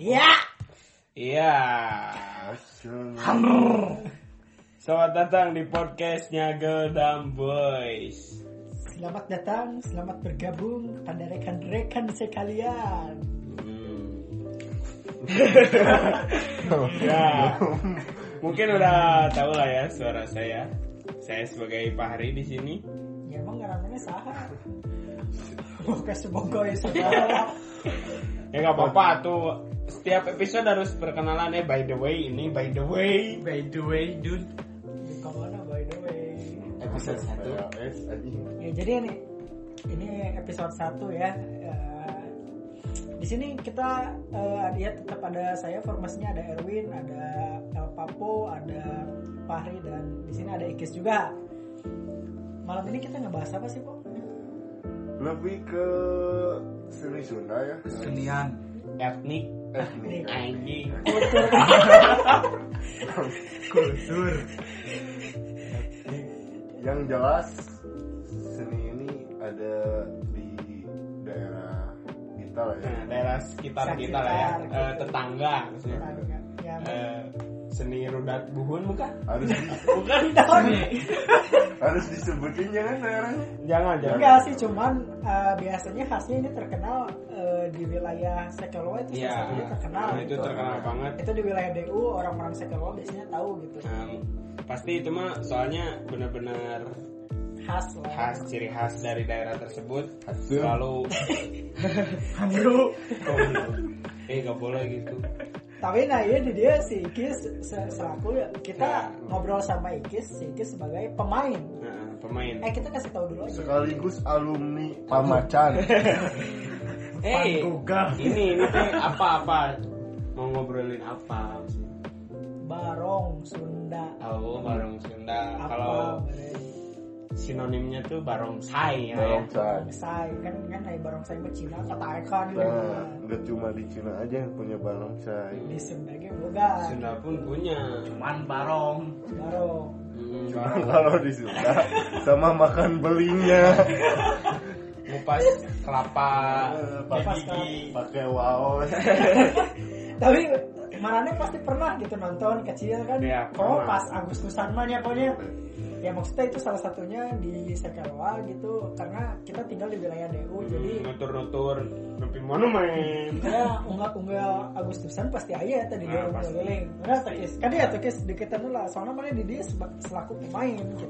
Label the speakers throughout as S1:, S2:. S1: Ya.
S2: Iya. Selamat datang di podcastnya Geldam Boys.
S1: Selamat datang, selamat bergabung kepada rekan-rekan sekalian.
S2: Hmm. Ya, mungkin udah tahu lah ya suara saya. Saya sebagai Fahri di sini.
S1: Ya emang ngarannya saha? Oke, semoga ya saudara.
S2: Ya nggak apa-apa tuh. Setiap episode harus perkenalan ya. By the way, ini by the way.
S3: By the way, dude.
S1: Di kemana by the way?
S2: Episode
S4: Iya,
S2: satu.
S1: Ya jadi ini ini episode 1 ya. Eh, di sini kita eh, ya tetap ada saya formasinya ada Erwin, ada El Papo, ada Fahri dan di sini ada Ikis juga. Malam ini kita ngebahas apa sih, Pak?
S4: lebih ke seni Sunda ya Eh,
S3: Senian.
S2: Etnik
S4: etnik
S2: anjing.
S3: Kultur.
S4: yang jelas seni ini ada di daerah kita lah ya
S2: Nah, daerah sekitar kita lah ya. Eh, tetangga maksudnya.
S1: Ya,
S2: Eh, seni rudat buhun bukan?
S4: harus di-
S2: Bukan. Iya.
S4: harus disebutin jangan daerahnya
S2: Jangan, jangan.
S1: Enggak sih, cuman eh, biasanya khasnya ini terkenal eh, di wilayah Sekelowa itu
S2: Iya,
S1: salah satunya terkenal. gitu.
S2: nah, itu terkenal banget.
S1: Itu di wilayah DU orang-orang Sekelowa biasanya tahu gitu.
S2: Nah, pasti itu mah soalnya benar-benar
S1: Khas lah.
S2: khas ciri khas dari daerah tersebut
S4: Hasil.
S2: selalu
S3: Hanru.
S2: eh gak boleh gitu
S1: Tapi nah iya di dia si Ikis se- selaku ya, kita
S2: Nah.
S1: ngobrol sama Ikis, si Ikis sebagai pemain.
S2: nah, pemain
S1: Eh kita kasih tahu dulu aja.
S4: sekaligus alumni pamacan
S2: Iya, eh
S3: Pangkoga.
S2: ini ini teh apa apa mau ngobrolin apa
S1: Barong Sunda.
S2: oh barong Sunda
S1: Apa
S2: kalau
S1: bareng.
S2: sinonimnya tuh barongsai ya, ya.
S4: pamacan
S1: Barongsai kan kan dari barongsai mah Cina kata Ekan gitu.
S4: nah nggak cuma di Cina aja yang punya barongsai
S1: Di Sunda ge boga.
S2: Sunda pun punya
S3: Cuman barong.
S1: Barong.
S2: Hmm,
S4: Nah,
S2: barong
S4: kalau di Sunda sama makan belinya
S2: ngupas kelapa
S1: Kupas
S2: gigi
S4: pakai waos
S1: tapi Marane pasti pernah gitu nonton kecil kan
S2: Iya,
S1: oh
S2: pernah.
S1: pas Agustusan mah nya pokoknya ya maksudnya itu salah satunya di Sekarwa gitu karena kita tinggal di wilayah DU
S2: Hmm.
S1: jadi
S2: nutur-nutur nepi monumen
S1: ya unggah-unggah Agustusan pasti aja ya tadi
S2: Nah,
S1: dia unggah
S2: pasti. Iya.
S1: leleng nah tekis kan dia tekis deketan lah soalnya mana di dia seba- selaku pemain gitu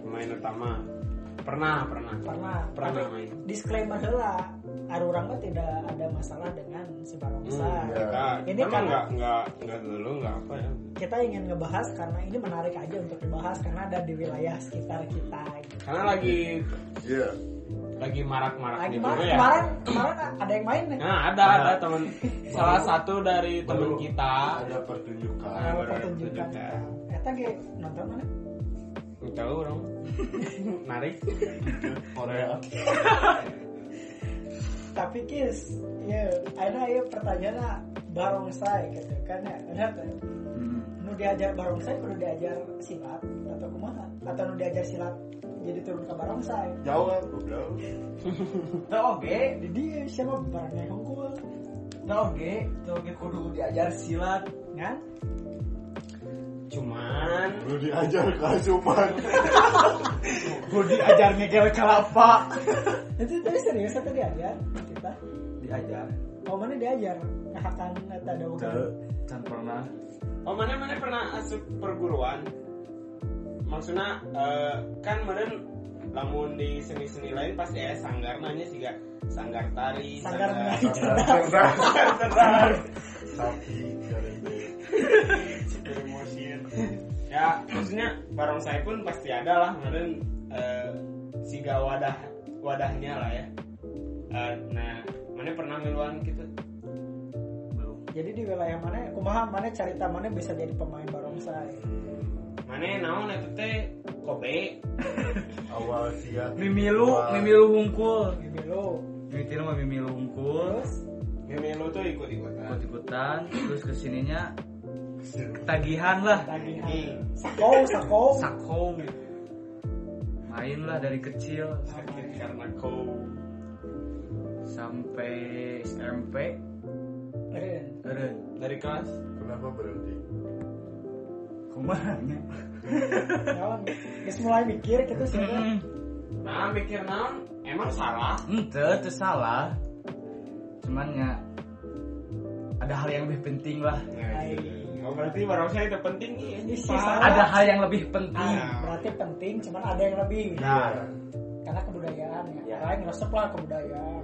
S2: pemain utama pernah pernah
S1: pernah
S2: pernah
S1: tapi
S2: main
S1: disclaimer lah Arurang mah tidak ada masalah dengan si
S2: Hmm,
S1: Barongsai
S4: iya.
S1: Ini
S2: ini kan
S1: karena-
S2: nggak nggak nggak dulu nggak apa ya
S1: kita ingin ngebahas karena ini menarik aja untuk dibahas karena ada di wilayah sekitar kita gitu.
S2: karena lagi
S4: Iya.
S2: lagi marak-marak
S1: Lagi
S2: gitu
S1: kemarin,
S2: ya
S1: Nah, kemarin kemarin ada yang main nih.
S2: nah ada ada teman salah satu dari teman
S4: Baru
S2: kita
S4: ada pertunjukan
S2: Nah,
S1: Nah,
S2: baru ada
S1: pertunjukan.
S2: pertunjukan.
S1: Eta ge nonton mana?
S2: Nggak tahu orang narik
S4: Korea
S1: Tapi kis, ya, ada ya pertanyaan barongsai gitu kan ya. Benar tuh.
S4: Hmm.
S1: Nu diajar barongsai perlu diajar silat atau kumaha? Atau nu diajar silat jadi turun ke barongsai.
S4: jawab goblok
S3: Teu oge,
S1: Jadi dia siapa barangnya hukum
S3: teu oge, teu oge kudu diajar silat.
S1: kan?
S2: cuman
S4: lu diajar kasupan
S3: Kudu diajar ngeger kelapa.
S1: Itu tadi serius atau diajar kita?
S3: Diajar.
S1: Oh mana diajar? Kahakan eta dauhan.
S3: Can pernah.
S2: oh mana mana pernah asup perguruan maksudnya eh, kan mana lamun di seni-seni lain pasti ya sanggar nanya sih gak sanggar tari
S1: Sanggar menari
S4: tapi
S2: ya maksudnya barang saya pun pasti ada lah kemarin eh, siga wadah wadahnya lah ya Eh, nah mana pernah miluan gitu
S3: Belum.
S1: Jadi di wilayah mana? Kumaha mana carita mana bisa jadi pemain barongsai?
S2: mana naon eta teh kobe
S4: awal sia
S3: Mimilu,
S4: Awal-
S3: Mimilu hungkul.
S1: Milo
S3: Mimilu mah Mimilu hungkul.
S1: terus
S2: memilu tuh ikut ikutan
S3: Ikut-ikutan, terus kesininya ketagihan lah.
S1: lagi
S2: Anjing.
S1: sakou sakou
S3: Sakong. Main lah dari kecil
S2: sakit karena kau
S3: sampai SMP.
S1: keren
S3: Keren.
S2: dari kelas
S4: kenapa berhenti
S3: Kumahannya.
S1: Naon? Terus mulai mikir gitu sih kan.
S3: Hmm,
S2: nah mikir naon emang salah
S3: Ente, itu salah. hmm, Cuman ya ada hal yang lebih penting lah.
S1: Hai.
S2: Oh, berarti barang saya itu penting nih ini
S1: Isi
S2: salah
S1: salah.
S3: Ada hal yang lebih penting.
S1: Ah, berarti penting cuman ada yang lebih
S2: nah
S1: karena kebudayaan ya
S2: Ya.
S1: lain resep lah kebudayaan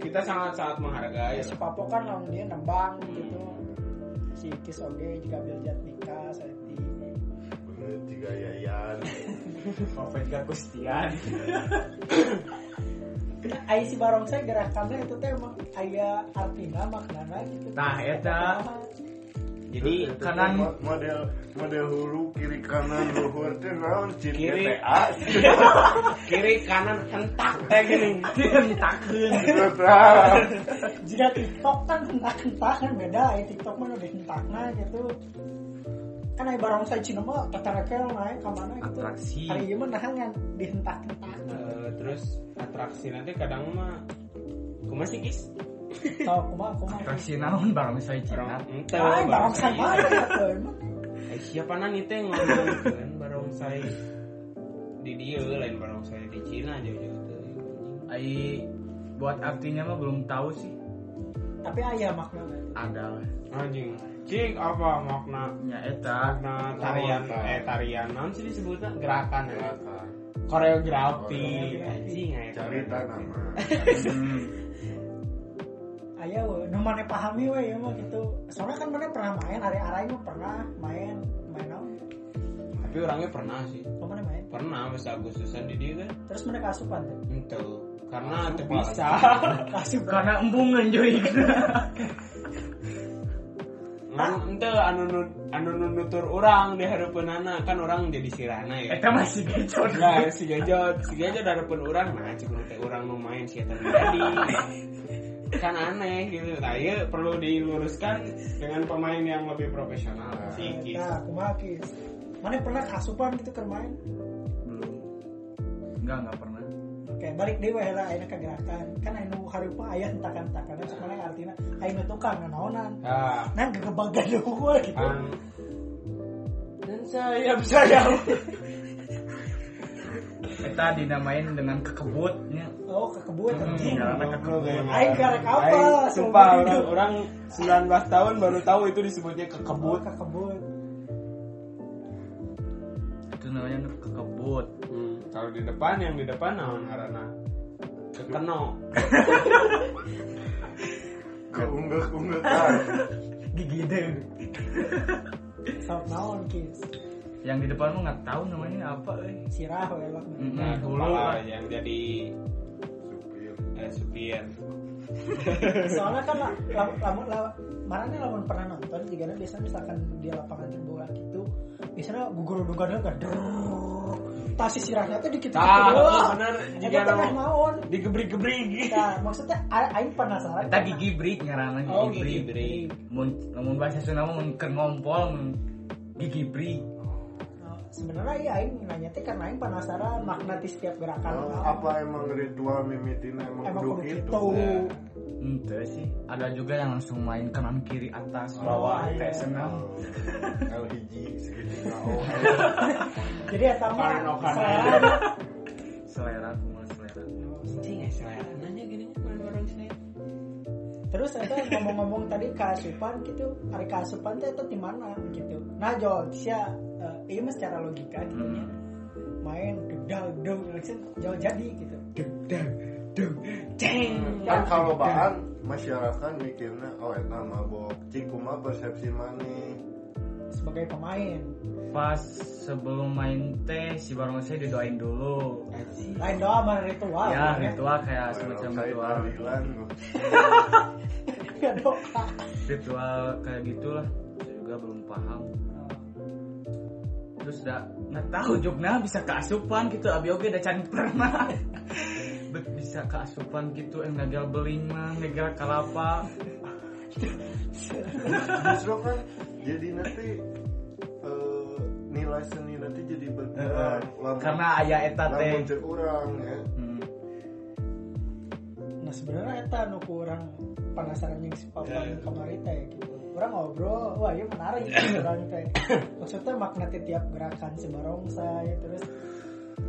S2: kita sangat sangat menghargai
S1: ya si Papo kan lawan dia nembang gitu si Kis Oge juga Biljat Nika Seti
S4: bener tiga yayan
S3: Profet Gagustian.
S1: Ai si Barongsai gerakannya itu teh emang aya artina maknana gitu
S3: Tah, eta.
S2: jadi
S3: Kanan.
S4: Mo- model model hulu kiri kanan luhur teh naon cin
S2: Kiri.
S4: GTA
S2: kiri kanan hentak teh gini
S3: Dihentakkeun.
S1: jika TikTok kan hentak-hentak kan beda ai TikTok mah udah hentakna gitu kan ai Barongsai Cina mah tatarekel naik ka mana gitu
S3: Atraksi.
S1: hari ieu mah nahangan dihentak-hentak
S2: Eh, terus atraksi nanti kadang mah kumaha sih kis
S1: tau kumaha kumaha
S3: Atraksi naon barang misalnya Cina.
S2: Barang- ente,
S1: Ay, barongsai
S2: barang-
S1: mah ya, tuh, emang.
S2: Eh, siapa nanti teh ngomongkeun barongsai di dieu lain barongsai di Cina jauh-jauh teh
S3: Ai buat artinya mah belum tahu sih.
S1: tapi ayah maknanya
S3: Ada lah.
S2: anjing cik apa makna
S3: Ya eta
S2: makna tarian
S4: Makna.
S2: eh tarian naon sih disebutna gerakan ya koreografi anjing eh.
S4: cerita nama
S3: hmm,
S1: ayah we nu mana pahami we ya mah gitu soalnya kan mana pernah main hari hari mah pernah main main naon
S2: tapi orangnya pernah sih
S1: Kok mana main
S2: pernah pas Agustusan di dieu kan
S1: terus mana kasupan tuh
S2: ente karena itu bisa
S1: kasupan
S3: karena embung ngeunjuy.
S2: Ngan- ente anu nu- anu nu nutur orang di hareupeunana kan orang jadi sirana ya
S3: Eta masih gacor.
S2: Nah, si Gajo, si Gajo dari pun orang, nah cik nanti orang nu main si Eta jadi. kan aneh gitu. Nah, ieu perlu diluruskan dengan pemain yang lebih profesional. gitu. Si Kis.
S1: nah kumaha Kis? mana pernah kasupan gitu ke main
S3: Belum. Enggak, enggak pernah.
S1: oke balik deh we lah ayah kegerakan kan ayah nu hareupa ayah entakan entakan terus mana artinya ayah nu tukang na naonan
S2: Ah,
S1: nah gegebagan dulu gue gitu
S2: kan. Dan sayap sayap.
S3: Eta dinamain dengan kekebutnya.
S1: oh kekebut anjing
S3: Karena kekebut.
S1: Aing karek apa?
S2: Sumpah
S1: Seumur
S2: orang,
S1: hidup.
S2: orang 19 tahun baru tahu itu disebutnya
S1: kebut
S2: kekebut.
S1: kekebut
S3: Itu namanya kekebut.
S2: Hmm, kalau di depan yang di depan naon karena kekeno.
S4: keunggah unggahan
S3: Gigi deh.
S1: sok naon Kis
S3: Yang di depan mah nggak tahu namanya apa, eh.
S1: sirah we lah
S2: Nah,
S1: Hmm,
S3: Mm-mm, dulu
S2: kepala yang jadi
S4: supir
S2: eh, supir.
S1: soalnya kan la- la- lamun la- marane lamun pernah nonton jika ada biasanya misalkan di lapangan terbuka gitu biasanya gugur dugannya gak pasti sirahnya tuh dikit dikit
S2: Ah,
S1: doang
S2: bener.
S1: Eta
S2: Jika
S1: tengah naon
S2: digebrik-gebrik gitu.
S1: nah maksudnya a- aing penasaran
S3: Eta gigi break ngaranna gigi
S2: Oh,
S3: break.
S2: gigi break.
S3: Mun mun bahasa Sunda mah mun keur ngompol mun gigi break.
S1: Nah, sebenarnya iya aing nanya teh karena aing penasaran makna di setiap gerakan
S4: Kalau
S1: naon.
S4: Oh, apa emang ritual mimitina emang,
S1: emang
S4: kudu
S1: kudu
S4: gitu
S1: gitu
S3: Ente sih. Ada juga yang langsung main kanan kiri atas bawah.
S1: iya.
S3: Teh senang.
S4: L hiji segitiga oh
S1: jadi eta mah
S2: Paling okan.
S1: selera
S3: Selera kumaha selera. Iya,
S1: Iya,
S2: Cing ya selera nanya gini orang saya.
S1: terus eta ngomong-ngomong tadi keasupan gitu hari keasupan teh eta di mana gitu nah Jol sia eh, ini mah secara logika gitu
S3: Hmm.
S1: main gedal dong election jauh jadi gitu gedal dong ceng
S4: kan kalau bahan masyarakat mikirnya oh eta mabok cik kumaha persepsi mani
S1: sebagai pemain
S3: Pas sebelum main teh si barongsai didoain dulu.
S1: lain doa mana ritual
S3: Iya. Ya,
S1: sebenarnya.
S3: ritual kayak semacam ah. ritual.
S4: tarilan
S1: ya doa
S3: Ritual kayak gitulah. Saya juga belum paham. Terus terus da nggak tahu jobnya bisa keasupan gitu abi oke da can pernah bet bisa keasupan gitu yang nagal beling mah nagal kalapa
S4: justru kan jadi nanti eh, nilai seni nanti jadi berkurang Lamun-
S3: Eh, karena ayah eta teh
S4: lamun cek orang ya
S3: Hmm.
S1: nah sebenarnya eta nu ku orang penasaran yang si papa
S2: Ya,
S1: yang kemarin teh gitu orang ngobrol wah iya menarik orang teh maksudnya makna tiap gerakan si barongsai terus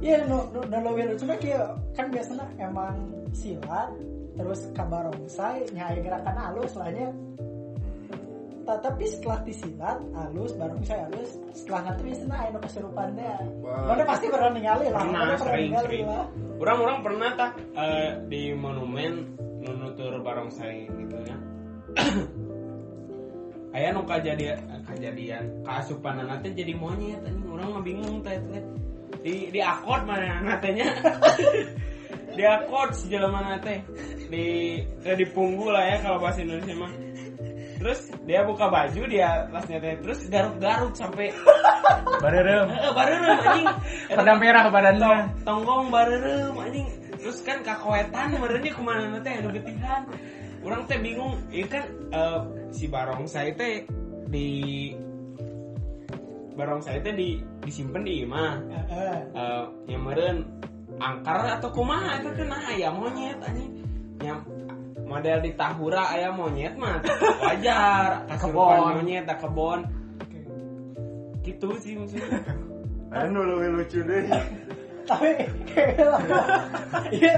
S1: Iya, no, no, no, no, no, cuma kayak kan biasanya emang silat terus ke barongsai nyai gerakan halus lahnya Ta- tapi setelah disilat halus barongsai halus setelah nanti biasanya ada kesurupannya
S4: Wah.
S1: mana pasti pernah ningali lah
S2: Pernah,
S1: mana pernah
S2: sering,
S1: ningali
S2: sering.
S1: lah
S2: orang-orang pernah tak eh, di monumen nunutur barongsai gitu ya Ayah nu kejadian kejadian keasupan anak teh jadi monyet anjing orang mah bingung teh teh di di akord mana anak tehnya di akord si jelema anak teh di eh, di punggu lah ya kalau bahasa Indonesia mah terus dia buka baju dia atasnya teh terus garuk-garuk sampai
S3: barerem
S2: eh, baru anjing
S3: pada merah badannya
S2: Tong- tonggong bareng anjing terus kan kakoetan barengnya kemana nanti anu getihan orang teh bingung ieu kan eh, si barongsai teh di barongsai teh di disimpen di imah
S1: Heeh.
S2: Eh, yang meren angker atau kumaha itu kena ayam monyet anjing yang model di tahura ayam monyet mah wajar
S3: Kebon.
S2: kebon monyet tak kebon gitu sih maksudnya
S4: ada nu leuwih lucu deh
S1: tapi iya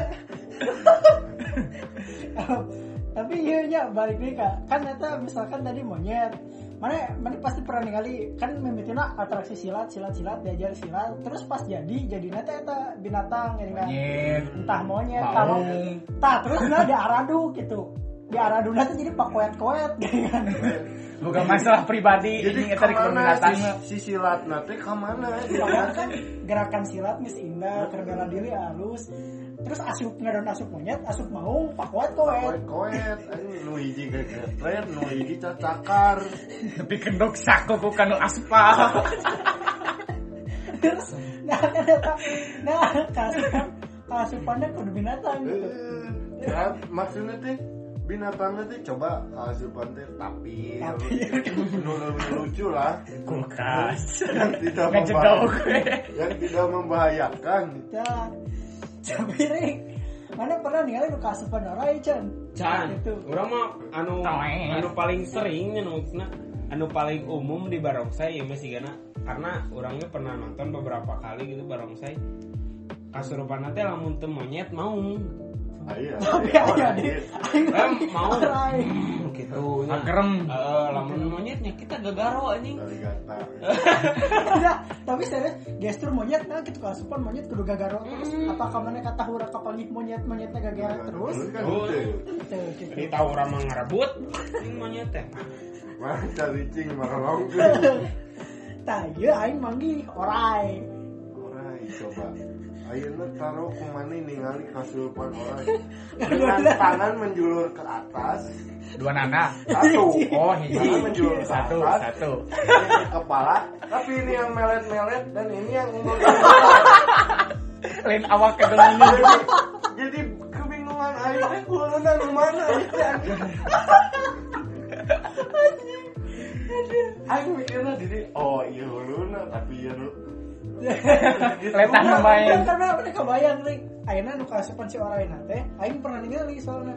S1: tapi iya nya balik nih kak kan ternyata misalkan tadi monyet mana mana pasti pernah ningali kan mimituna atraksi silat silat silat diajar silat terus pas jadi jadi nata eta binatang ini kan
S3: monyet
S1: entah monyet kalau
S3: baung
S1: tah terus nah di aradu gitu di aradu nanti jadi pak koet koet gitu kan
S3: bukan masalah pribadi ini
S4: jadi
S3: eta di
S4: kemana
S3: datang
S4: si, si silat nanti kemana
S1: Padahal kan gerakan silat mis indah kerendahan diri halus terus asup ngadon asup monyet asup mau pak koet koet
S4: koet koet anjing nu hiji gegeret nu hiji cacakar
S3: tapi kendok sako ku kanu aspal
S1: terus nah kan eta- nah kasupan kasupannya kudu binatang gitu
S4: Eh, ya, maksudnya teh binatangnya teh coba asupan teh tapi nu leuwih lucu lah
S3: kulkas
S4: yang tidak
S3: ngejegau
S4: membahayakan
S3: gue
S4: yang tidak membahayakan
S1: dah cepiring mana pernah nih lu kasupan orang Chan
S2: Can,
S1: itu
S2: orang mah anu
S3: Toeng.
S2: anu paling sering anu na- anu paling umum di barongsai ya masih karena karena orangnya pernah nonton beberapa kali gitu barongsai kasurupan teh lamun teu monyet mau
S4: Aya,
S1: tapi
S4: aya,
S1: aja
S4: aya.
S1: deh
S2: Em, mau
S1: Orang.
S2: Hmm, gitu nya
S3: Akrem.
S2: Heeh, lamun monyetnya kita gagaro anjing
S4: Dari gatar.
S1: Enggak, Nah, tapi serius gestur monyet nah gitu kasupan monyet kudu gagaro terus apakah mana kata hura kapalik monyet monyetnya gagaro terus
S4: Terus kan
S2: Terus.
S4: gitu.
S1: Tuh, gitu.
S2: jadi tahu orang mah ngarebut anjing monyet teh
S4: Mah cari cing mah longkeng.
S1: Tah, ieu aing manggih orai.
S4: Orang coba. Ayeuna taruh kemana ningali kasurupan orang
S1: Dua
S4: dengan
S1: belas.
S4: tangan menjulur ke atas
S3: dua nana
S4: satu
S3: oh hiji
S4: tangan menjulur ke
S3: satu
S4: atas,
S3: satu
S4: ini ke kepala tapi ini yang melet-melet dan ini yang umbul
S3: lain awak kegelangan
S4: jadi kebingungan Eh, aing teh kulungan dan mana Iya. aing mikirnya jadi oh iya kulungan tapi iya lu
S3: letak
S1: Bukan,
S3: main
S1: bukan, Karena mereka bayang nih. Ayeuna nu kasupan si orai na teh, aing pernah ningali soalnya.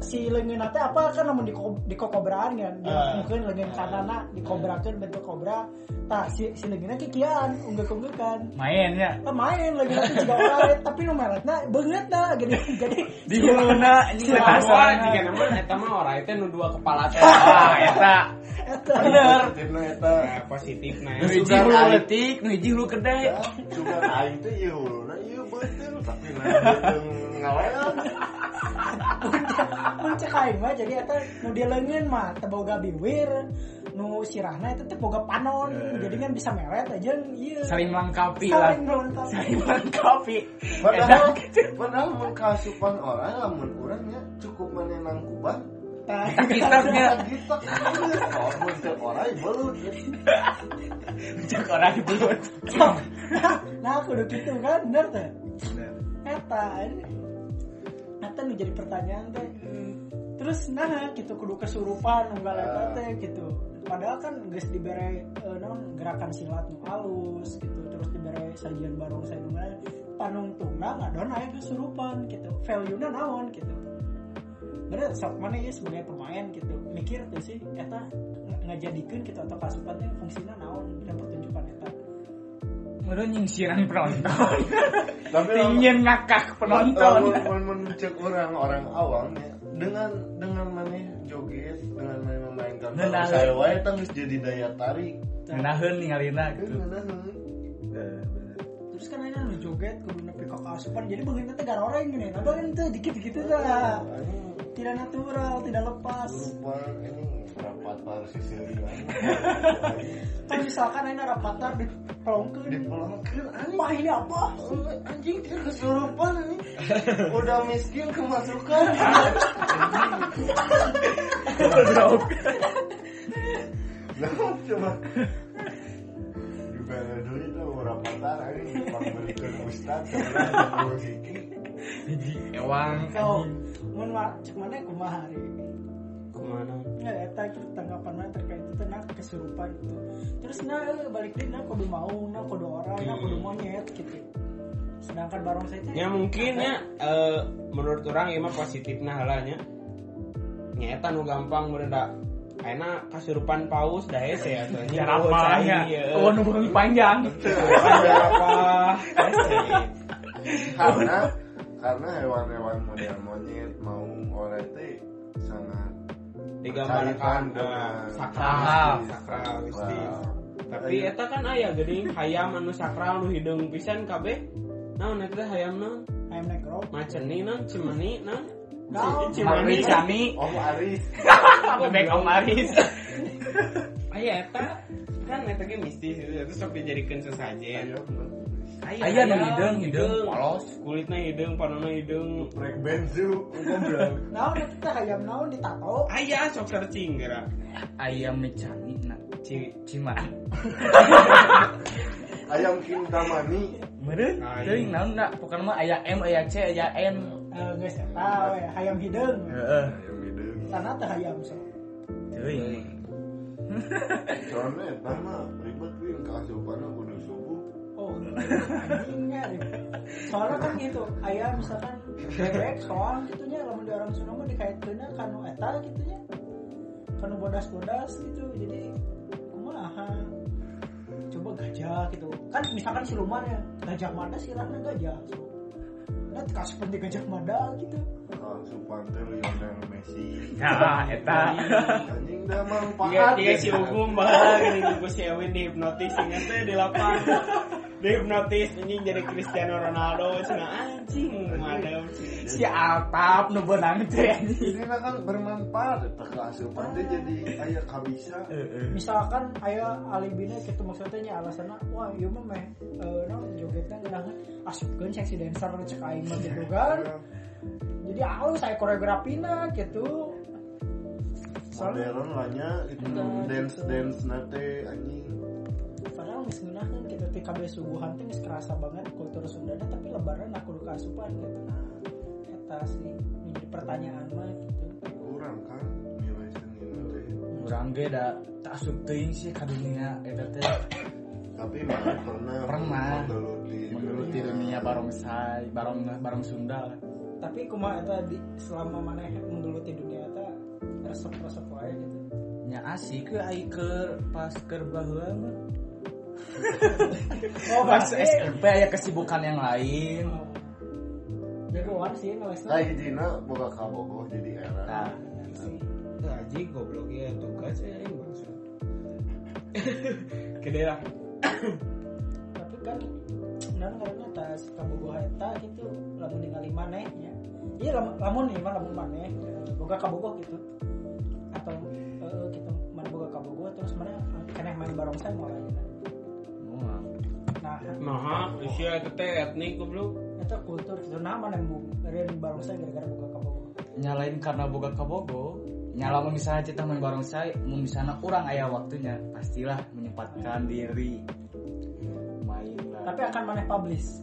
S1: Si leungeunna teh apa kan namun di dikokobraan kan.
S2: Ah.
S1: Mungkin leungeun kanana dikobrakeun bentuk kobra. Tah si si leungeunna kikian, unggah-unggahan.
S3: mainnya
S1: main lagi nanti juga orang tapi nu meletna beungeutna gitu. Jadi
S3: di huluna
S1: Si
S3: ini
S2: Nah,
S3: letak
S2: jika nama eta mah orang itu nu dua kepala teh
S3: ah eta
S1: eta
S3: bener
S4: Timna eta
S2: Nah, positif nah
S3: nu hiji hulu letik nu hiji hulu
S4: Iya.
S3: kedai
S4: juga aing teh ieu huluna ieu beuteun iya, tapi nah beuteung ngalean
S1: mencek aing mah jadi eta nu di leungeun mah teu boga biwir nu sirahna eta teh boga panon jadi kan bisa meret aja ieu
S3: saling melengkapi lah
S1: saling nonton
S3: saling melengkapi
S4: padahal padahal mun kaasupan orang lamun urang nya cukup menenang kuban
S1: kita
S3: Kitaknya
S4: Gitu, oh, muncul orang belum.
S3: cek orang di belut.
S1: nah aku udah gitu kan bener teh eta ini eta nu jadi pertanyaan teh terus nah gitu kudu kesurupan nunggal eta teh gitu padahal kan geus dibere eh, naon gerakan silat nu alus gitu terus dibere sajian barongsai nu ngaran panungtungna ngadon aya kesurupan gitu value na naon gitu bener sok mana ya sebagai pemain gitu mikir tuh sih eta nga- ngajadikeun gitu atau kasupannya fungsinya naon dina pertunjukan eta
S3: Menurut nyingsiran penonton.
S4: Tapi
S3: Ingin ngakak
S4: Lamun-
S3: penonton.
S4: lamun- lamun cek orang orang awam ya dengan dengan mana joget dengan mana memainkan
S3: Ngeunaan.
S4: saya wae tang geus jadi daya tarik.
S3: Ngenaheun ningalina
S4: Kan
S3: gitu.
S4: ngeunaan.
S1: terus kan akhirnya udah joget kudu nepi ke asupan jadi begini teh gara orang gini atau kan tuh dikit dikit dah
S4: Ayo,
S1: tidak natural tidak lepas
S4: lupa ini rapat harus kesini
S1: kan misalkan akhirnya rapatar di pelongkeun
S4: dipulangkan anjing
S1: mah ini apa
S4: anjing dia kesurupan ini udah miskin kemasukan Nah, coba juga ada duit tuh orang patar ini bang berikan ustad sebenarnya musik
S3: Ewang.
S1: kau mun ma cek mana kumaha hari
S2: kemana
S1: ya eta itu tanggapan mana terkait itu nah kesurupan itu terus nah eh, balik deh nah kudu mau nah kudu orang nah kudu monyet gitu sedangkan barong saya teh
S2: ya mungkin ya eh, menurut orang ya mah positif nah halanya nyata nu gampang mereda karena kasurupan paus dah hese ya soalnya
S3: Ya apa ya? Oh nunggu panjang.
S2: apa hese.
S4: karena karena hewan-hewan model monyet mau orang teh sangat
S2: digambarkan dengan
S4: Dengan
S2: sakral
S3: sakral.
S2: sakral mistis
S4: wah,
S2: tapi eta kan aya geuning hayam anu sakral nu hideung pisan kabeh naon eta teh hayam naon
S1: ayam negro
S2: maceni naon cimani naon
S1: Naon?
S3: Iya.
S2: cimani
S3: Cani.
S4: Om Aris
S3: Bebek Om Aris.
S2: aya eta kan eta ge mistis itu terus sok dijadikeun sesajen
S4: ayo
S3: Aya nu hideung, hideung.
S2: polos kulitna hideung panona hideung
S4: break benzu ngobrol
S1: naon eta teh hayam naon ditato
S2: aya sok searching gara
S3: Ayam mecani na.
S2: ci
S3: Cimani.
S4: ayam kintamani
S3: Meureun teuing naon da? Bukan mah aya M, aya C, aya N.
S1: Eh, geus eta we, hayam hideung
S3: Heeh.
S4: ayam itu
S1: sana teh hayam so
S3: Teuing.
S4: Eh, soalnya eta mah ribet wing keasupan kudu subuh
S1: Oh, anjingnya deh. Soalnya kan gitu, ayah misalkan bebek soal gitunya lamun di orang Sunda mah dikaitkeunna kanu eta gitunya. Kanu bodas-bodas gitu. Jadi kumaha? Coba gajah gitu. Kan misalkan siluman ya, gajah mada silahna gajah. So, Nah, kasih penting gajah mada gitu.
S4: keasupan teh Lionel Messi
S3: Nah, eta.
S4: anjing
S2: Tiga,
S4: dah manfaat
S2: tiga
S4: ya.
S2: si hukum bah gini gue si Ewin dihipnotis ingat teh di lapangan dihipnotis anjing jadi Cristiano Ronaldo cina anjing madam
S3: Si Altap nu beunang teh.
S4: ini mah kan bermanfaat eta keasupan teh jadi aya kabisa
S3: Heeh.
S1: Misalkan ayah alibina gitu maksudnya nya alasanna wah ieu mah meh eh, naon jogetna geunah asupkeun seksi dancer nu cek aing mah gitu kan. jadi halus saya koreografina gitu soalnya
S4: modern lahnya itu dance dance nate anjing
S1: padahal nggak ngeunaheun gitu TKB subuhan tuh nggak kerasa banget kultur Sundana tapi lebaran aku udah asupan gitu nah eta sih ini jadi pertanyaan mah gitu
S4: kurang kan nilai seni nate
S3: Urang ge da taksub teuing sih ka dunia eta teh.
S4: tapi mana pernah
S3: Pernah.
S4: menggeluti
S3: Menggeluti dunia barongsai, barong barong Sunda lah.
S1: tapi kumaha eta di selama mana menggeluti dunia eta resep resep wae gitu
S3: Nya asik ke ai keur pas keur baheula mah.
S1: oh
S3: Pas SMP aya kesibukan yang lain.
S1: jagoan sih ngelesna
S4: Hai Jina, boga kabogoh jadi era.
S3: Nah,
S1: Bener Iya sih.
S2: aji goblok ya tugas ya ini maksud gede lah
S1: tapi kan dan karena tas kabogoh eta gitu lamun ningali maneh ya iya lam- lamun nih mah lamun maneh eh, boga kabogoh gitu atau eh, gitu mana boga kabogoh terus mana eh, keneh main barongsai mulai gitu.
S3: Moal.
S1: nah
S2: nah usia teh etnik goblok
S1: eta kultur gitu nah mana yang bu- dari barongsai gara-gara boga kabogoh
S3: nyalain karena boga kabogo nyala mun misalnya cita main bareng saya mun misalnya kurang ayah waktunya pastilah menyempatkan diri main lah
S1: tapi akan mana publish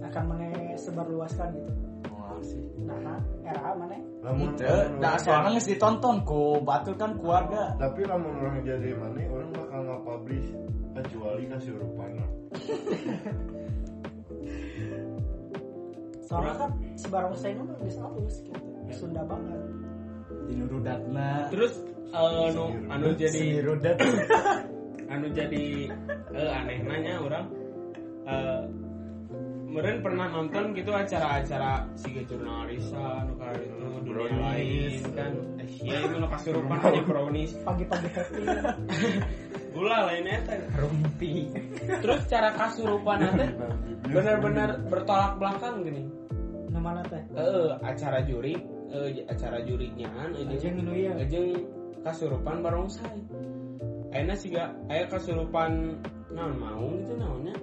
S1: akan mana sebarluaskan gitu
S3: Wah, sih
S1: nah era mana
S4: Lamun
S3: Teu,
S4: lamun orang
S3: da nah, soalnya geus ditonton ku batur kan keluarga
S4: tapi lamun orang jadi mana orang bakal nggak publish kecuali kasih rupanya
S1: soalnya kan sebarang saingan udah bisa halus gitu Sunda banget
S3: di nurudatna
S2: terus eh, anu anu
S3: si
S2: jadi
S3: rudat
S2: anu jadi eh, aneh nanya orang eh meren pernah nonton gitu acara-acara siga jurnalisa anu kayak itu dunia lain kan eh, iya itu nu kasurupan aja brownies
S1: pagi-pagi happy
S2: gula lainnya teh
S3: rumpi
S2: terus cara kasurupan teh benar-benar bertolak belakang gini
S1: nah mana teh
S2: eh acara juri eh, acara jurinya eh,
S1: aja
S2: aja
S1: ngenu ya
S2: Ajeng kasurupan barongsai. Ayeuna siga aya kasurupan naon maung gitu naonnya.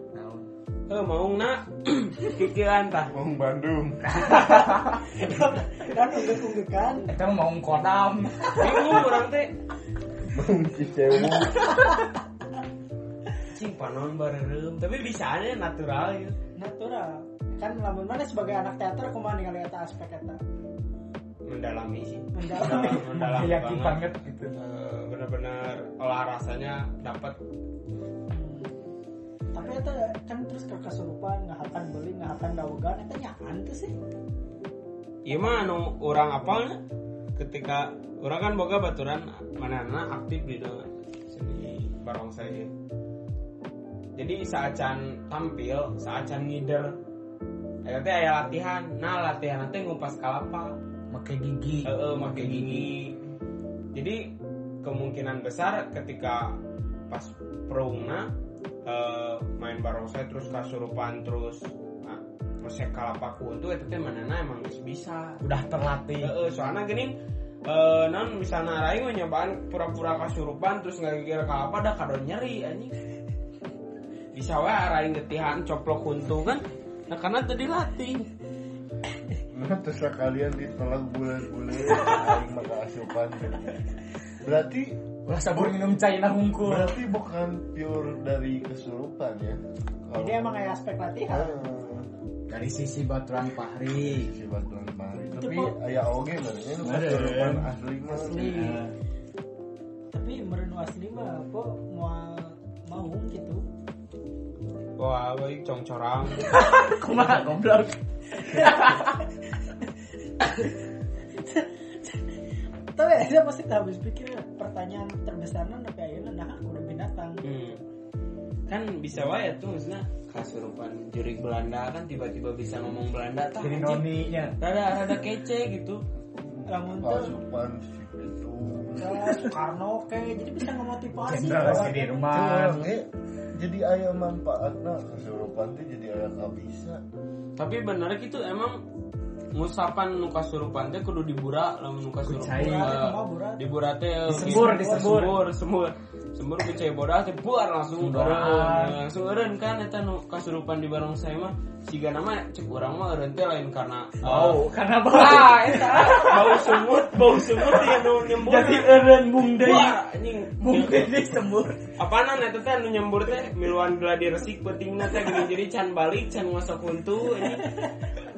S2: Heuh maung na kikilan tah.
S4: Wong Bandung
S1: kan unggul kan
S3: kita mau kodam
S2: Bingung urang teh.
S4: Wong Cisewu
S2: Cing panon bareureum, tapi bisa nya natural gitu.
S1: natural kan lamun mana sebagai anak teater kumaha ningali eta aspek eta
S2: Mendalami sih.
S1: mendalam
S2: Mendalami
S3: yakin
S2: banget.
S3: banget gitu
S2: Eh, benar-benar olah rasanya dapat
S1: tapi eta kan terus ke kesurupan ngahakan beli ngahakan dawegan eta nyaan tuh sih
S2: Iya mah anu orang apalnya ketika orang kan boga baturan manana aktif di dalam seni barongsai ieu. Jadi saacan tampil, saacan ngider. Eta teh aya latihan. Nah, latihan teh ngupas kalapa.
S3: pakai gigi
S2: Heeh, make gigi. Jadi kemungkinan besar ketika pas perungna eh, main barongsai terus kasurupan terus nah, resep kalapa kuntu eta teh manana emang geus bisa.
S3: udah terlatih
S2: Heeh, soalnya gini eh non misalnya Rai mah nyobaan pura-pura kasurupan terus nggak kira ke apa dah kado nyeri anjing. Bisa wae Rai getihan coplok untung kan. Nah karena tadi latih.
S4: Nah terus kalian ditolak bulan-bulan Aing maka asupan Berarti
S3: ulah sabun minum China hungkul
S4: Berarti bukan pure dari kesurupan ya Kalau-
S1: jadi emang aya aspek latihan
S4: Ah,
S3: dari sisi baturan pahri
S4: Si Batuan Mari Tapi ya,
S1: kok-
S4: ayah oge berarti nu
S3: Ada.
S4: kesurupan asli mah
S1: Asli.
S3: Nah,
S1: tapi merenu asli mah kok mau mau gitu
S2: Wah, gue congcorang.
S3: kumaha goblok
S1: tapi akhirnya pasti tak habis pikir pertanyaan terbesarnya tapi akhirnya nah aku udah binatang
S2: Hmm. Kan bisa wae tuh maksudnya kasurupan juri Belanda kan tiba-tiba bisa ngomong Belanda tah.
S3: jadi
S2: anjing.
S3: noninya
S2: Rada rada kece gitu.
S1: lamun tuh
S4: Asupan si Pitung
S1: ke Soekarno oke jadi bisa ngemotivasi
S3: Jenderal
S1: orang.
S3: Sudirman
S4: Cuma, eh, jadi ayah manfaatnya kesurupan tuh jadi ayah gak bisa
S2: Tapi bener gitu emang ngusapan nu kasurupan teh kudu dibura lamun nu kasurupan. Eh,
S3: Kucai.
S1: Kumaha burak?
S2: dibura teh gitu.
S3: Disembur, disembur.
S2: disembur sembur sembur ku cai bodas teh buar langsung
S3: Buar.
S2: eureun. langsung eureun kan eta nu kasurupan di barong saya mah siga nama cek urang mah eureun teh lain karena
S3: Wow, karena
S2: ah
S3: bau.
S2: eta bau sumut bau sumut ya nu nyembur
S3: Jadi eren bung deui.
S2: buar anjing
S3: Bung deui disembur.
S2: apaanan eta teh anu nyembur teh miluan gladi resik pentingna teh gini jadi can balik can ngosok untu ini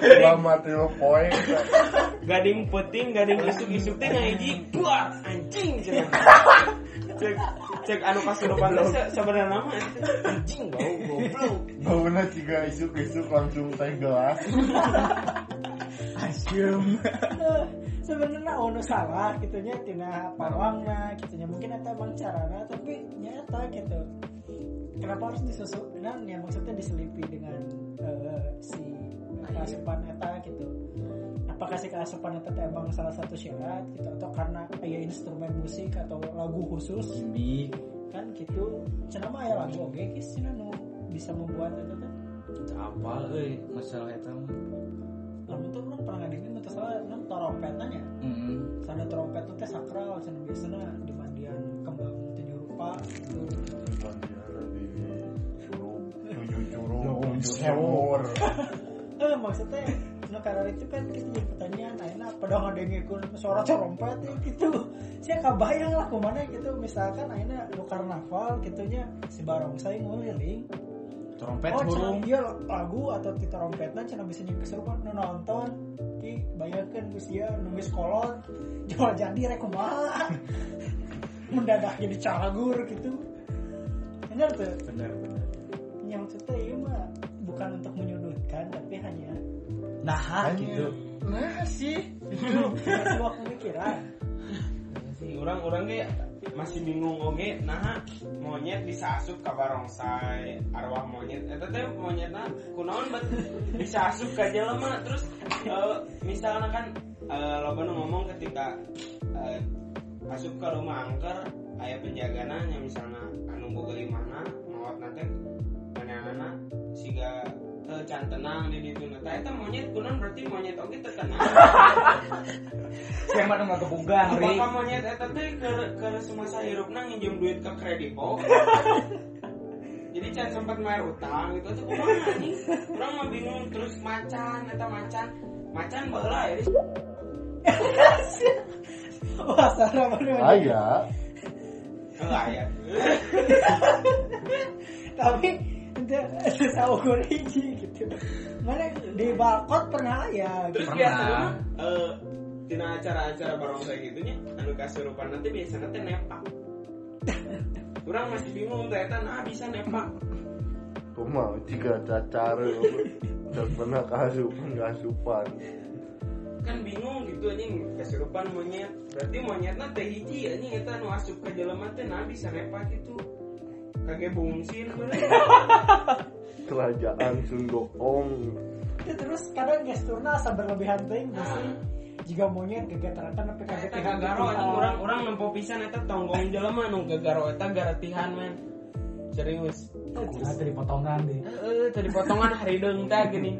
S4: lama tilu poin
S2: gading peting gading isuk isuk teh ngaji buar anjing cenah. cek cek anu kasurupan teh se- sebenarnya nama eta anjing bau goblok
S4: baunya juga isuk-isuk langsung teh gelas
S3: Asyum.
S1: Eh, sebenarnya ono salah gitunya tina pawangna gitunya mungkin eta emang carana tapi nyata gitu kenapa harus disusup nah ya maksudnya diselipi dengan eh, si keasupan eta gitu apakah si keasupan eta teh emang salah satu syarat gitu atau karena aya instrumen musik atau lagu khusus
S3: Gimik.
S1: kan gitu cenah mah aya lagu oge geus cenah nu bisa membuat eta teh
S3: Apa euy masalah eta mah.
S1: lamun tuh urang pernah ngadengeun mun teu salah nah, urang trompetanya
S3: Heeh.
S1: Sana trompet itu teh sakral, sana biasanya di mandian kembang tujuh rupa gitu.
S4: tujuh curug
S3: Nuhun
S4: tujuh
S3: sewu.
S4: sumur
S1: Eh maksudnya nu Ferrari itu kan kita jadi pertanyaan ayeuna padahal ngadengkeun suara corompet ya, gitu sia kabayang lah kumana gitu misalkan ayeuna nu karnaval kitunya si barongsai ngeliling
S3: trompet
S1: oh cenah
S3: burung
S1: ieu lagu atau ti trompetna cenah bisa nyingkes keserupan nu nonton ki bayangkeun geus sia nu geus kolot jual jadi rek kumaha mendadak jadi cagur gitu bener tuh
S3: bener
S1: yang Ya, maksudnya ini mah bukan untuk menyudutkan tapi hanya
S3: nah
S4: Hanya-
S3: gitu nah sih
S1: ngasih waktu pikiran
S2: Si orang-orang ge masih bingung oge nah monyet bisa asup ke barongsai arwah monyet eta teh monyetna kunaon bet bisa asup ke jelema terus eh, misalnya kan eh, loba nu ngomong ketika eh, asup ke rumah angker aya penjagana nya misalnya anu boga mana maot nanti anak-anak siga teu can tenang di ditu nah eta monyet kunaon berarti monyet oge teu tenang
S3: siapa nama kebungan ri
S2: Apakah monyet eta teh ke ke semasa hirupna nginjem duit ke kredito? Jadi can sempat main utang gitu tuh kumaha anjing. Urang mah bingung terus macan eta macan macan baheula ya.
S1: wah Sarah baru aja.
S4: Aya,
S2: Heula ya.
S1: tapi itu susah ukur hiji gitu mana di balkot pernah ya
S2: Terus
S3: Pernah.
S2: biasanya mah eh tina acara-acara barongsai gitu nya anu kasurupan nanti biasanya teh nepak. Urang masih bingung teh eta nah bisa nepak.
S4: kumaha jika cacar dan pernah kasupan kasupan.
S2: kan bingung gitu anjing kesurupan monyet berarti monyetnya teh hiji anjing eta nu asup ka jelema teh nah bisa nepa gitu kage bungsin bener
S4: Kerajaan Sundoong.
S1: itu terus kadang gesturnya asa berlebihan ting pasti
S2: Ah.
S1: gitu jika monyet kegiatan tapi gitu. kaget
S2: eta gagaro anjing urang urang nempo pisan eta tonggong jelema nu gagaro eta garatihan men serius
S3: Nah, tadi potongan deh
S2: heeh tadi potongan harideung teh gini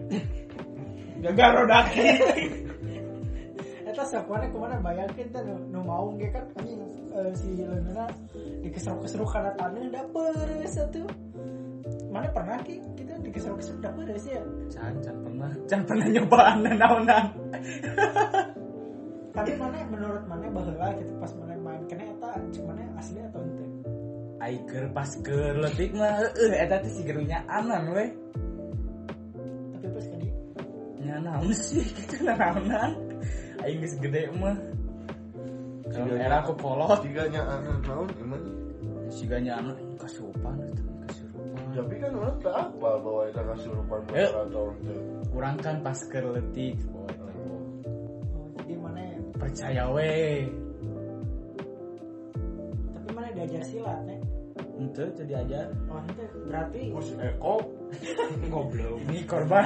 S2: gagaro daki
S1: Eta sakuannya kemana bayangin teh nu, nu mau ge kan anjing eh, si Leunana dikeseruk-keseruk karena tanah dapur satu mana pernah ki kita dikeseruk-keseruk dapur sih ya
S3: can can pernah can pernah nyobaan naonan
S1: tapi mana menurut mana baheula gitu pas mana main kena eta cuman asli atau ente
S3: Aiker pas keur leutik mah heueuh eta teh si gerunya anan we.
S1: tapi pas kali
S3: Nya naon sih kitu na naonan. Aing geus gede mah. Kalau era aku kolot
S4: Jika nya anak naon emang.
S3: siganya anak kasurupan eta kasurupan.
S4: Tapi kan orang tak apa bahwa itu kasupan
S3: Eh.
S4: keraton itu.
S3: Urang kan pas keur leutik oh, eta, oh.
S1: oh, jadi mana
S3: Percaya we.
S1: tapi mana diajar silat ya
S3: Henteu teu diajar.
S1: oh ente berarti
S4: Kus Eko,
S2: goblok
S3: eh, Ini korban.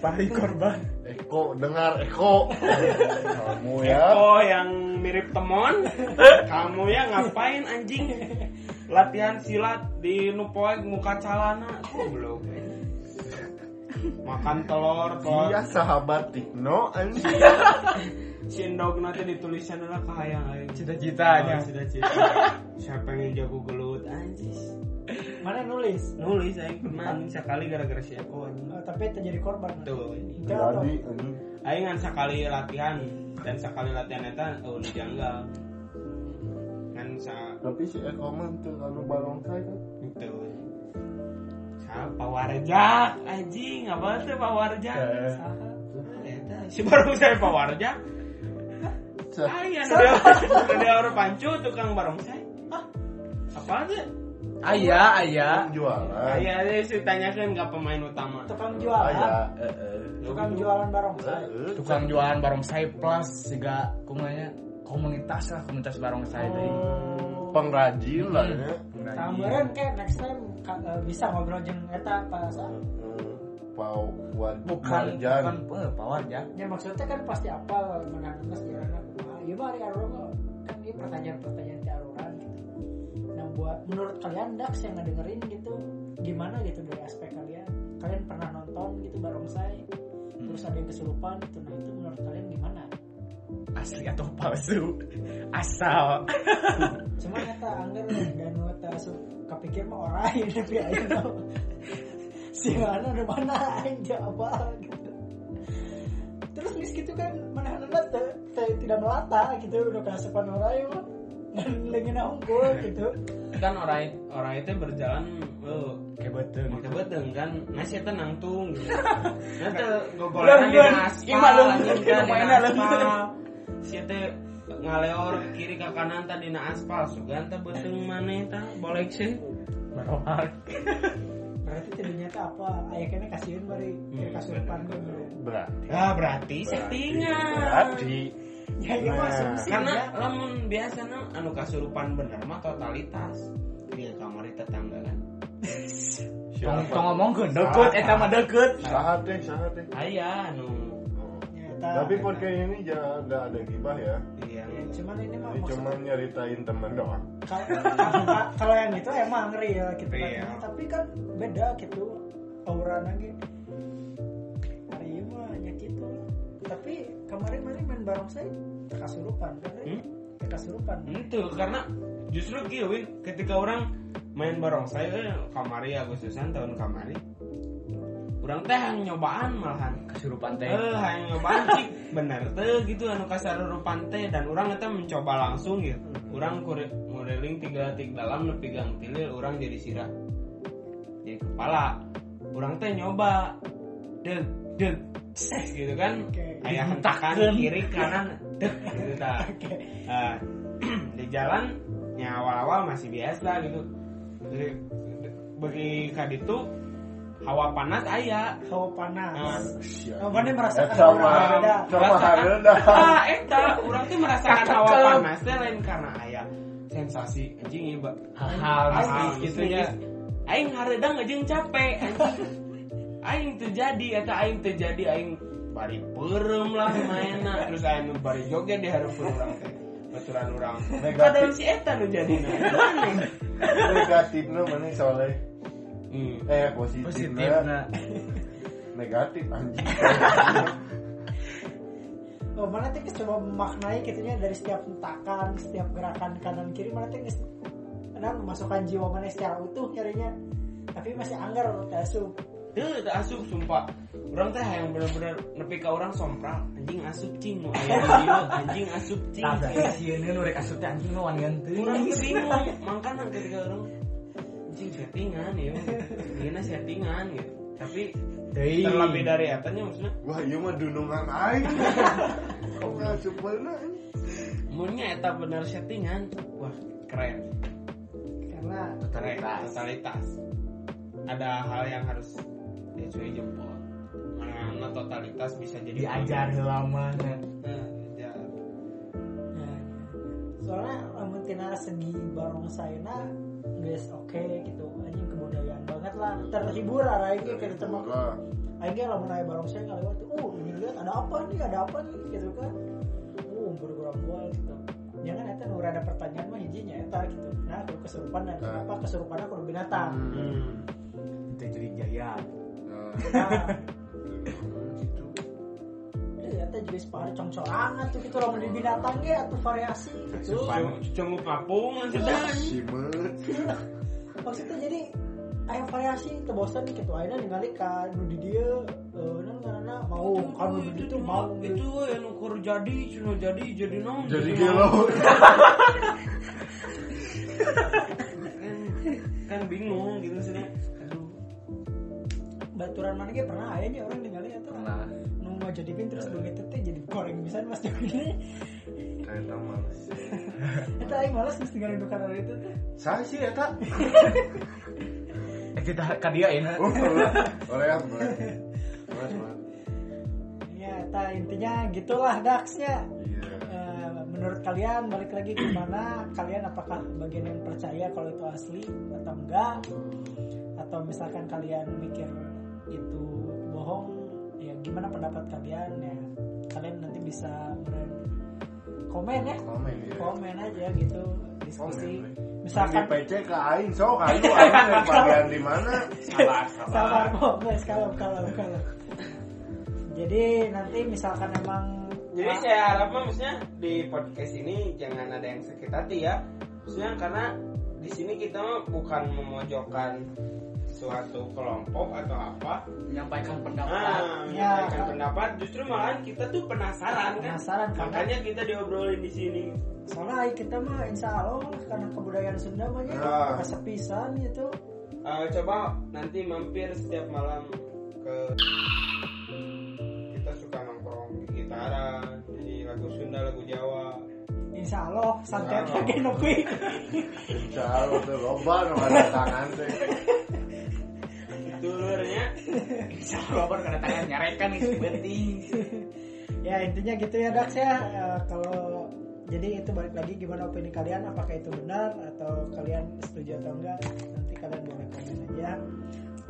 S3: Pari korban.
S4: Eko dengar Eko. Kamu ya.
S2: Oh yang mirip temon Kamu ya ngapain anjing Latihan silat di Nupoeg muka calana Goblok Makan telur telur
S4: Dia sahabat Tikno anjing.
S2: Cindog nanti ditulisan adalah kahayang aing.
S3: Cita-citanya.
S2: Oh, cita-cita Saya pengen jago gelut anjing
S1: mana nulis
S2: Nulis aing pernah anjing sekali gara-gara si Eko anjing
S1: Oh, tapi terjadi korban
S2: Tuh anjing.
S1: Ente apa?
S4: Jadi anjing.
S2: Aing ngan sekali latihan Dan sekali latihan itu Oh nu janggal Kan sa
S4: Tapi si Eko mah tuh kalau barongsai kan.
S2: Itu. Siapa warjak? Anjing, apa tuh Pak Warjak?
S4: Eh.
S1: Saha?
S2: Eta, Si baru saya Pak Warjak.
S4: Sah.
S2: Ayah, ada ada orang pancu tukang barong saya. Hah? Apa tuh?
S3: Aya, aya.
S4: Jualan.
S2: Ayah, ada si tanyakan nggak pemain utama.
S1: tukang
S4: Aya.
S3: Ah.
S1: jualan
S2: Eh,
S1: tukang jualan barongsai
S4: Heeh.
S3: tukang jualan barongsai plus juga kumanya komunitas lah komunitas barongsai teh.
S1: Oh.
S4: pengrajin lah ya.
S1: Tambaran kayak next time ka- eh, bisa ngobrol jeung eta pas.
S4: Heeh. Pau buat
S3: bukan
S4: marjan.
S3: bukan eh, power ya
S1: Ya maksudnya kan pasti apal menang mas jalan kumaha. Ieu Ah, iya mah ari arurang mah, kan ieu pertanyaan-pertanyaan ti aruran gitu. Nah buat menurut kalian Dax yang ngedengerin gitu gimana gitu dari aspek kalian? Kalian pernah nonton gitu barongsai terus ada yang kesurupan gitu nah itu menurut kalian gimana?
S3: asli atau palsu asal
S1: Cuman eta anggar dan eta su- kepikir mah orang ini tapi ayeuna. Si mana ada mana aing jawab gitu. gelis gitu kan menahan anak teh teh tidak melata gitu udah keasupan orang ya mah dan lagi unggul gitu
S2: kan orang orang itu berjalan eh,
S3: Kebetulan.
S2: Maka beteng kan, nasi itu nangtung gitu. Nah itu
S1: Belum,
S2: gogolan di
S1: belum.
S2: aspal,
S1: Ima belum,
S2: anjing,
S1: kita
S2: kan di
S1: mainan lagi.
S2: aspal. Si teh ngaleor kiri ke kanan tadi na aspal, sugan teh beteng mana tah boleh sih.
S3: Berobat.
S1: berarti tidak nyata apa ayahnya kasihin bari
S2: Hmm,
S1: keasupan gitu
S4: berarti
S2: Ah berarti settingan.
S4: berarti
S1: ya itu mah
S4: Nah,
S1: asumsi
S2: Karena
S1: ya.
S2: lamun biasanya anu kasurupan bener mah totalitas. Di kamar tetangga kan.
S3: Tong
S4: siapa
S3: tong ngomong ke deket, eta mah deket.
S4: saha teh saha teh
S2: Aya anu
S4: Oh.
S1: Ya, eta.
S4: tapi podcast ini jangan nggak ada gibah ya
S2: iya.
S1: Ya, cuman ini mah
S4: jadi cuma
S1: maksudnya
S4: nyeritain temen doang
S1: kalau- kalau- kalau yang itu emang real gitu kan.
S2: Real.
S1: tapi kan beda gitu aura lagi hari ini mah ya gitu tapi kemarin kemarin main bareng saya kasurupan kan
S2: Hmm?
S1: Teh kasurupan
S2: itu karena justru kiwin ketika orang main barongsai eh, kamari Agustusan tahun kamari orang teh yang nyobaan malahan
S3: Kesurupan
S2: eh
S3: teh.
S2: yang nyobaan cik bener teh gitu anu kasarurupan teh dan orang eta mencoba langsung gitu orang kure modeling tiga tik dalam nepi gang tilir orang jadi sirah jadi kepala orang teh nyoba deg deg gitu kan
S1: Oke.
S2: ayah hentakan kiri kanan deg gitu dah
S1: oke
S2: Eh, di jalan ya awal-awal masih biasa gitu Jadi, bagi kaditu hawa panas ayah
S1: hawa panas
S2: Nah,
S1: hawa panas Oh, merasakan
S4: Eta
S1: aura
S4: mah-
S1: beda
S4: Sama hareuda.
S2: ah eta urang teh merasakan hawa panas teh lain karena aya sensasi anjing ieu
S3: Hal-hal
S2: hal
S3: mistis,
S2: gitu ya aing hareudang anjing capek anjing aing teu jadi eta aing teu jadi aing bari peureum lah maena terus aing nu bari joget di hareupeun urang teh baturan urang kadang si eta nu nah, jadina Aneh.
S4: negatifnya mana soleh
S2: Hmm.
S4: eh
S3: Positif
S4: positifnya
S3: nah.
S4: negatif anjing
S1: Oh, mana teh geus coba memaknai kitunya dari setiap hentakan, setiap gerakan kanan kiri mana teh geus nah, memasukkan jiwa mana secara utuh nyarinya. Tapi masih anggar teh asup.
S2: Heuh, teu asup sumpah. Urang teh hayang bener-bener nepi ka urang sompral, anjing asup cing nu aya di dieu, anjing asup cing.
S3: Tah sieun nu rek asup teh anjing mah wan ganteng.
S2: Urang teh bingung, mangkana ketika urang anjing settingan ya. Gimana settingan gitu. Tapi
S3: Deui.
S2: terlebih dari etanya maksudnya
S4: wah iya mah dunungan aing kok nggak nah, sempurna ini?
S2: munnya eta bener settingan. Wah, keren.
S1: Karena
S2: Keren, totalitas. Ada hal yang harus diacungi jempol. Mana-mana totalitas bisa jadi
S3: diajar lama
S2: Nah, diajar.
S1: ya, soalnya lamun tina segi barongsainya guys oke gitu. Anjing kebudayaan banget lah. Terhibur aing ge kitu teh mah.
S4: Lah,
S1: Aing ge lamun aya barongsai ngalewat, oh ini lihat ada apa nih, ada apa nih gitu kan. Oh, bergerombol gitu. Jangan eta nu ada pertanyaan mah hijinya eta gitu. Nah, kudu kesurupan dan
S4: Nah.
S1: kenapa kesurupan kudu binatang.
S2: Hmm.
S3: itu jadi jaya
S4: nah,
S1: Nah,
S4: gitu.
S1: ya eta juga separe congcorangan tuh gitu lamun di binatang ge atuh variasi gitu.
S2: Cenguk ngapung anjing.
S4: Si meut.
S1: Maksudnya jadi aya variasi teu bosan gitu. Ayeuna ningali ka nu di dieu ah, eh nan ngaranna mau kan nu di ditu
S2: itu
S1: mau
S2: itu
S1: gitu.
S2: yang ukur jadi cuma jadi jadi nong
S4: jadi
S2: nong.
S4: gelo
S2: Kan- kan bingung gitu sih aduh
S1: Baturan mana ge pernah aya nya orang ningali eta.
S3: pernah
S1: nu mau jadi pin terus begitu teh jadi goreng bisa mas jadi
S4: ternyata males
S1: itu aing malas mesti tinggal di karena itu teh
S4: saya sih ya, eta
S3: eh kita ka dia ya
S4: Oh, ya, lah. oleh apa Males, males.
S1: ya eta intinya gitulah daksnya
S4: iya
S1: Eh, menurut kalian balik lagi gimana kalian apakah bagian yang percaya kalau itu asli atau enggak atau misalkan kalian mikir itu bohong ya gimana pendapat kalian ya kalian nanti bisa ber- komen ya
S4: komen ya
S1: komen aja gitu diskusi
S4: Komen, iya.
S1: misalkan
S4: Di PC ke Aing, so Aing tuh Aing yang bagian di mana?
S3: sabar
S1: sabar kok guys kalau kalau kalau jadi nanti misalkan emang
S2: jadi saya harap mah maksudnya di podcast ini jangan ada yang sakit hati ya maksudnya karena di sini kita mah bukan memojokkan suatu kelompok atau apa
S3: menyampaikan pendapat
S2: ah
S1: Ya.
S2: menyampaikan pendapat justru malah kita tuh penasaran kan
S1: Penasaran, karena-
S2: makanya kita diobrolin di sini
S1: soalnya aing kita mah insya Allah karena kebudayaan Sunda mah ya gitu.
S4: Ah.
S1: kesepisan itu
S2: Eh, coba nanti mampir setiap malam ke kita suka nongkrong di gitaran di lagu Sunda lagu Jawa
S1: insya Allah santai
S4: Insya Allah.
S1: lagi nepi
S4: Insya Allah tuh loba nu tangan teh.
S2: itu lurnya
S3: bisa keluar karena tangan nyarekan itu penting
S1: ya intinya gitu ya Dax ya Eh, kalau jadi itu balik lagi gimana opini kalian apakah itu benar atau kalian setuju atau enggak nanti kalian boleh komen aja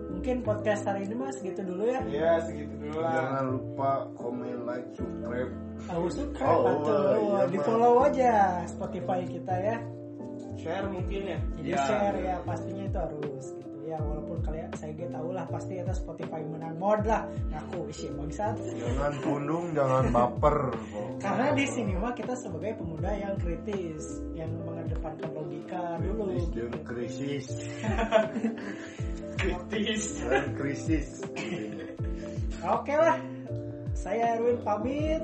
S1: mungkin podcast hari ini mas gitu dulu ya
S2: ya segitu dulu lah
S4: Jangan lupa komen, like, subscribe.
S1: aku subscribe
S4: Oh,
S1: atau
S4: iya,
S1: di
S4: Mas.
S1: follow aja Spotify kita ya
S2: share mungkin ya
S1: jadi
S3: Ya.
S1: share ya pastinya itu harus gitu ya walaupun kalian saya gak tahu lah pasti atas Spotify menang mod lah ngaku isi bangsat
S4: Jangan pundung, jangan baper.
S1: karena di sini mah kita sebagai pemuda yang kritis yang mengedepankan logika dulu
S4: Kritis dan krisis
S2: kritis
S4: dan krisis.
S1: oke lah saya Erwin pamit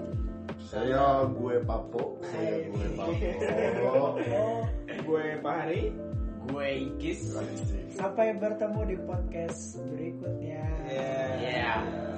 S4: Saya gue Papo, saya gue Papo.
S1: Oh,
S2: gue Pak Hari
S3: gue ikis
S4: Krisis.
S2: Iya.
S1: sampai bertemu di podcast berikutnya
S3: Iya.
S2: Yeah.
S3: Yeah.